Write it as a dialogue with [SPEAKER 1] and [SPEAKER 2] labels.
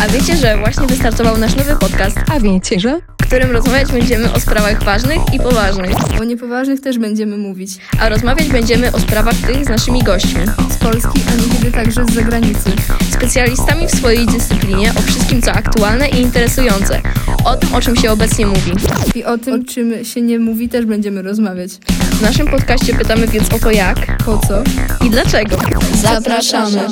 [SPEAKER 1] A wiecie, że właśnie wystartował nasz nowy podcast,
[SPEAKER 2] A wiecie, że?
[SPEAKER 1] w którym rozmawiać będziemy o sprawach ważnych i poważnych.
[SPEAKER 3] O niepoważnych też będziemy mówić.
[SPEAKER 1] A rozmawiać będziemy o sprawach tych z naszymi gośćmi,
[SPEAKER 3] Z Polski, a niekiedy także z zagranicy.
[SPEAKER 1] specjalistami w swojej dyscyplinie, o wszystkim co aktualne i interesujące, o tym o czym się obecnie mówi.
[SPEAKER 3] I o tym, o czym się nie mówi, też będziemy rozmawiać.
[SPEAKER 1] W naszym podcaście pytamy więc o to jak
[SPEAKER 3] Po co?
[SPEAKER 1] i dlaczego.
[SPEAKER 3] Zapraszamy.